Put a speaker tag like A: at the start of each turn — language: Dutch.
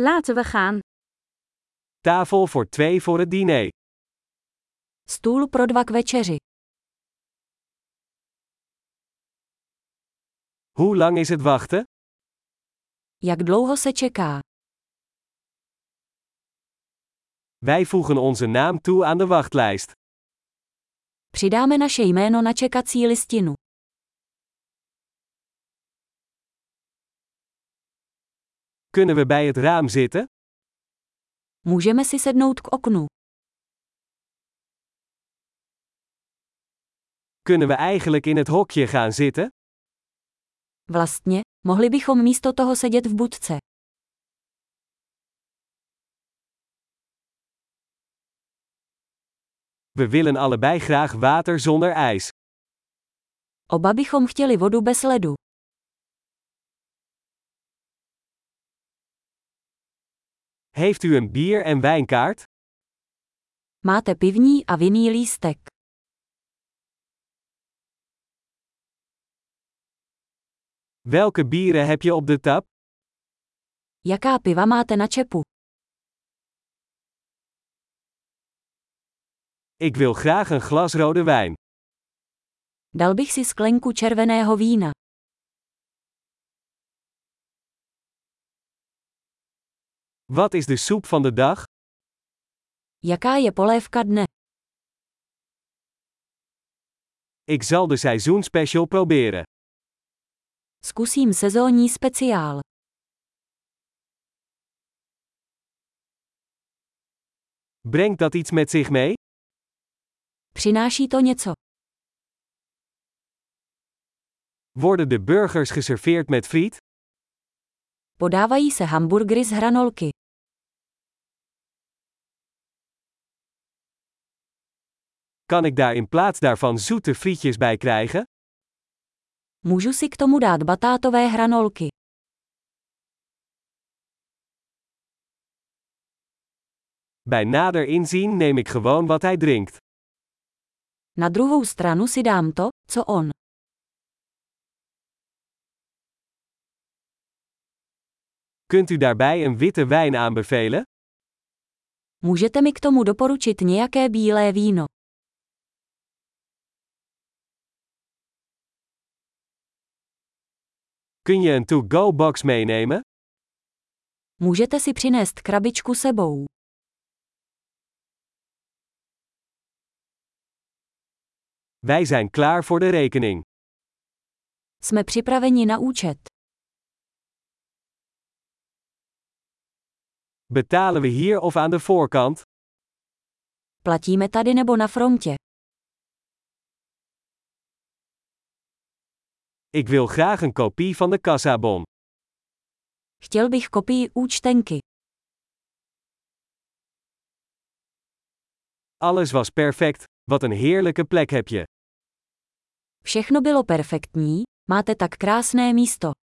A: Laten we gaan.
B: Tafel voor twee voor het diner.
C: Stůl pro dva k večeři.
B: Hoe lang is het wachten?
C: Jak dlouho se čeká?
B: Wij voegen onze naam toe aan de wachtlijst.
C: Přidáme naše jméno na čekací listinu.
B: Kunnen we bij het raam zitten?
C: Můžeme si sednout k oknu.
B: Kunnen we eigenlijk in het hokje gaan zitten?
C: Vlastně, mohli bychom místo toho sedět v budce.
B: We willen allebei graag water zonder ijs.
C: Oba bychom chtěli vodu bez ledu.
B: Heeft u een bier- en wijnkaart?
C: Máte pivní a vinný lístek.
B: Welke bieren heb je op de tap?
C: Jaká piva máte na čepu?
B: Ik wil graag een glas rode wijn.
C: Dal bych si sklenku červeného vína.
B: Wat is de soep van de dag?
C: Jaká je polévka dne?
B: Ik zal de seizoenspecial proberen.
C: Zkusím sezónní speciál.
B: Brengt dat iets met zich mee?
C: Přináší to něco.
B: Worden de burgers geserveerd met friet?
C: Podávají se hamburgery z hranolky.
B: Kan ik daar in plaats daarvan zoete frietjes bij krijgen?
C: Můžu si k tomu dát batátové hranolky.
B: Bij nader inzien neem ik gewoon wat hij drinkt.
C: Na druhou stranu si dám to, co on.
B: Kunt u daarbij een witte wijn aanbevelen?
C: Můžete mi k tomu doporučit nějaké bílé víno.
B: Kun je een to-go box meenemen?
C: Můžete si přinést krabičku sebou.
B: Wij zijn klaar voor de rekening.
C: Jsme připraveni na účet.
B: Betalen we hier of aan de voorkant?
C: Platíme tady nebo na frontě.
B: Ik wil graag een kopie van de kassabon.
C: Chtěl bych kopii účtenky.
B: Alles was perfect. Wat een heerlijke plek heb je.
C: Všechno bylo perfektní, máte tak krásné místo.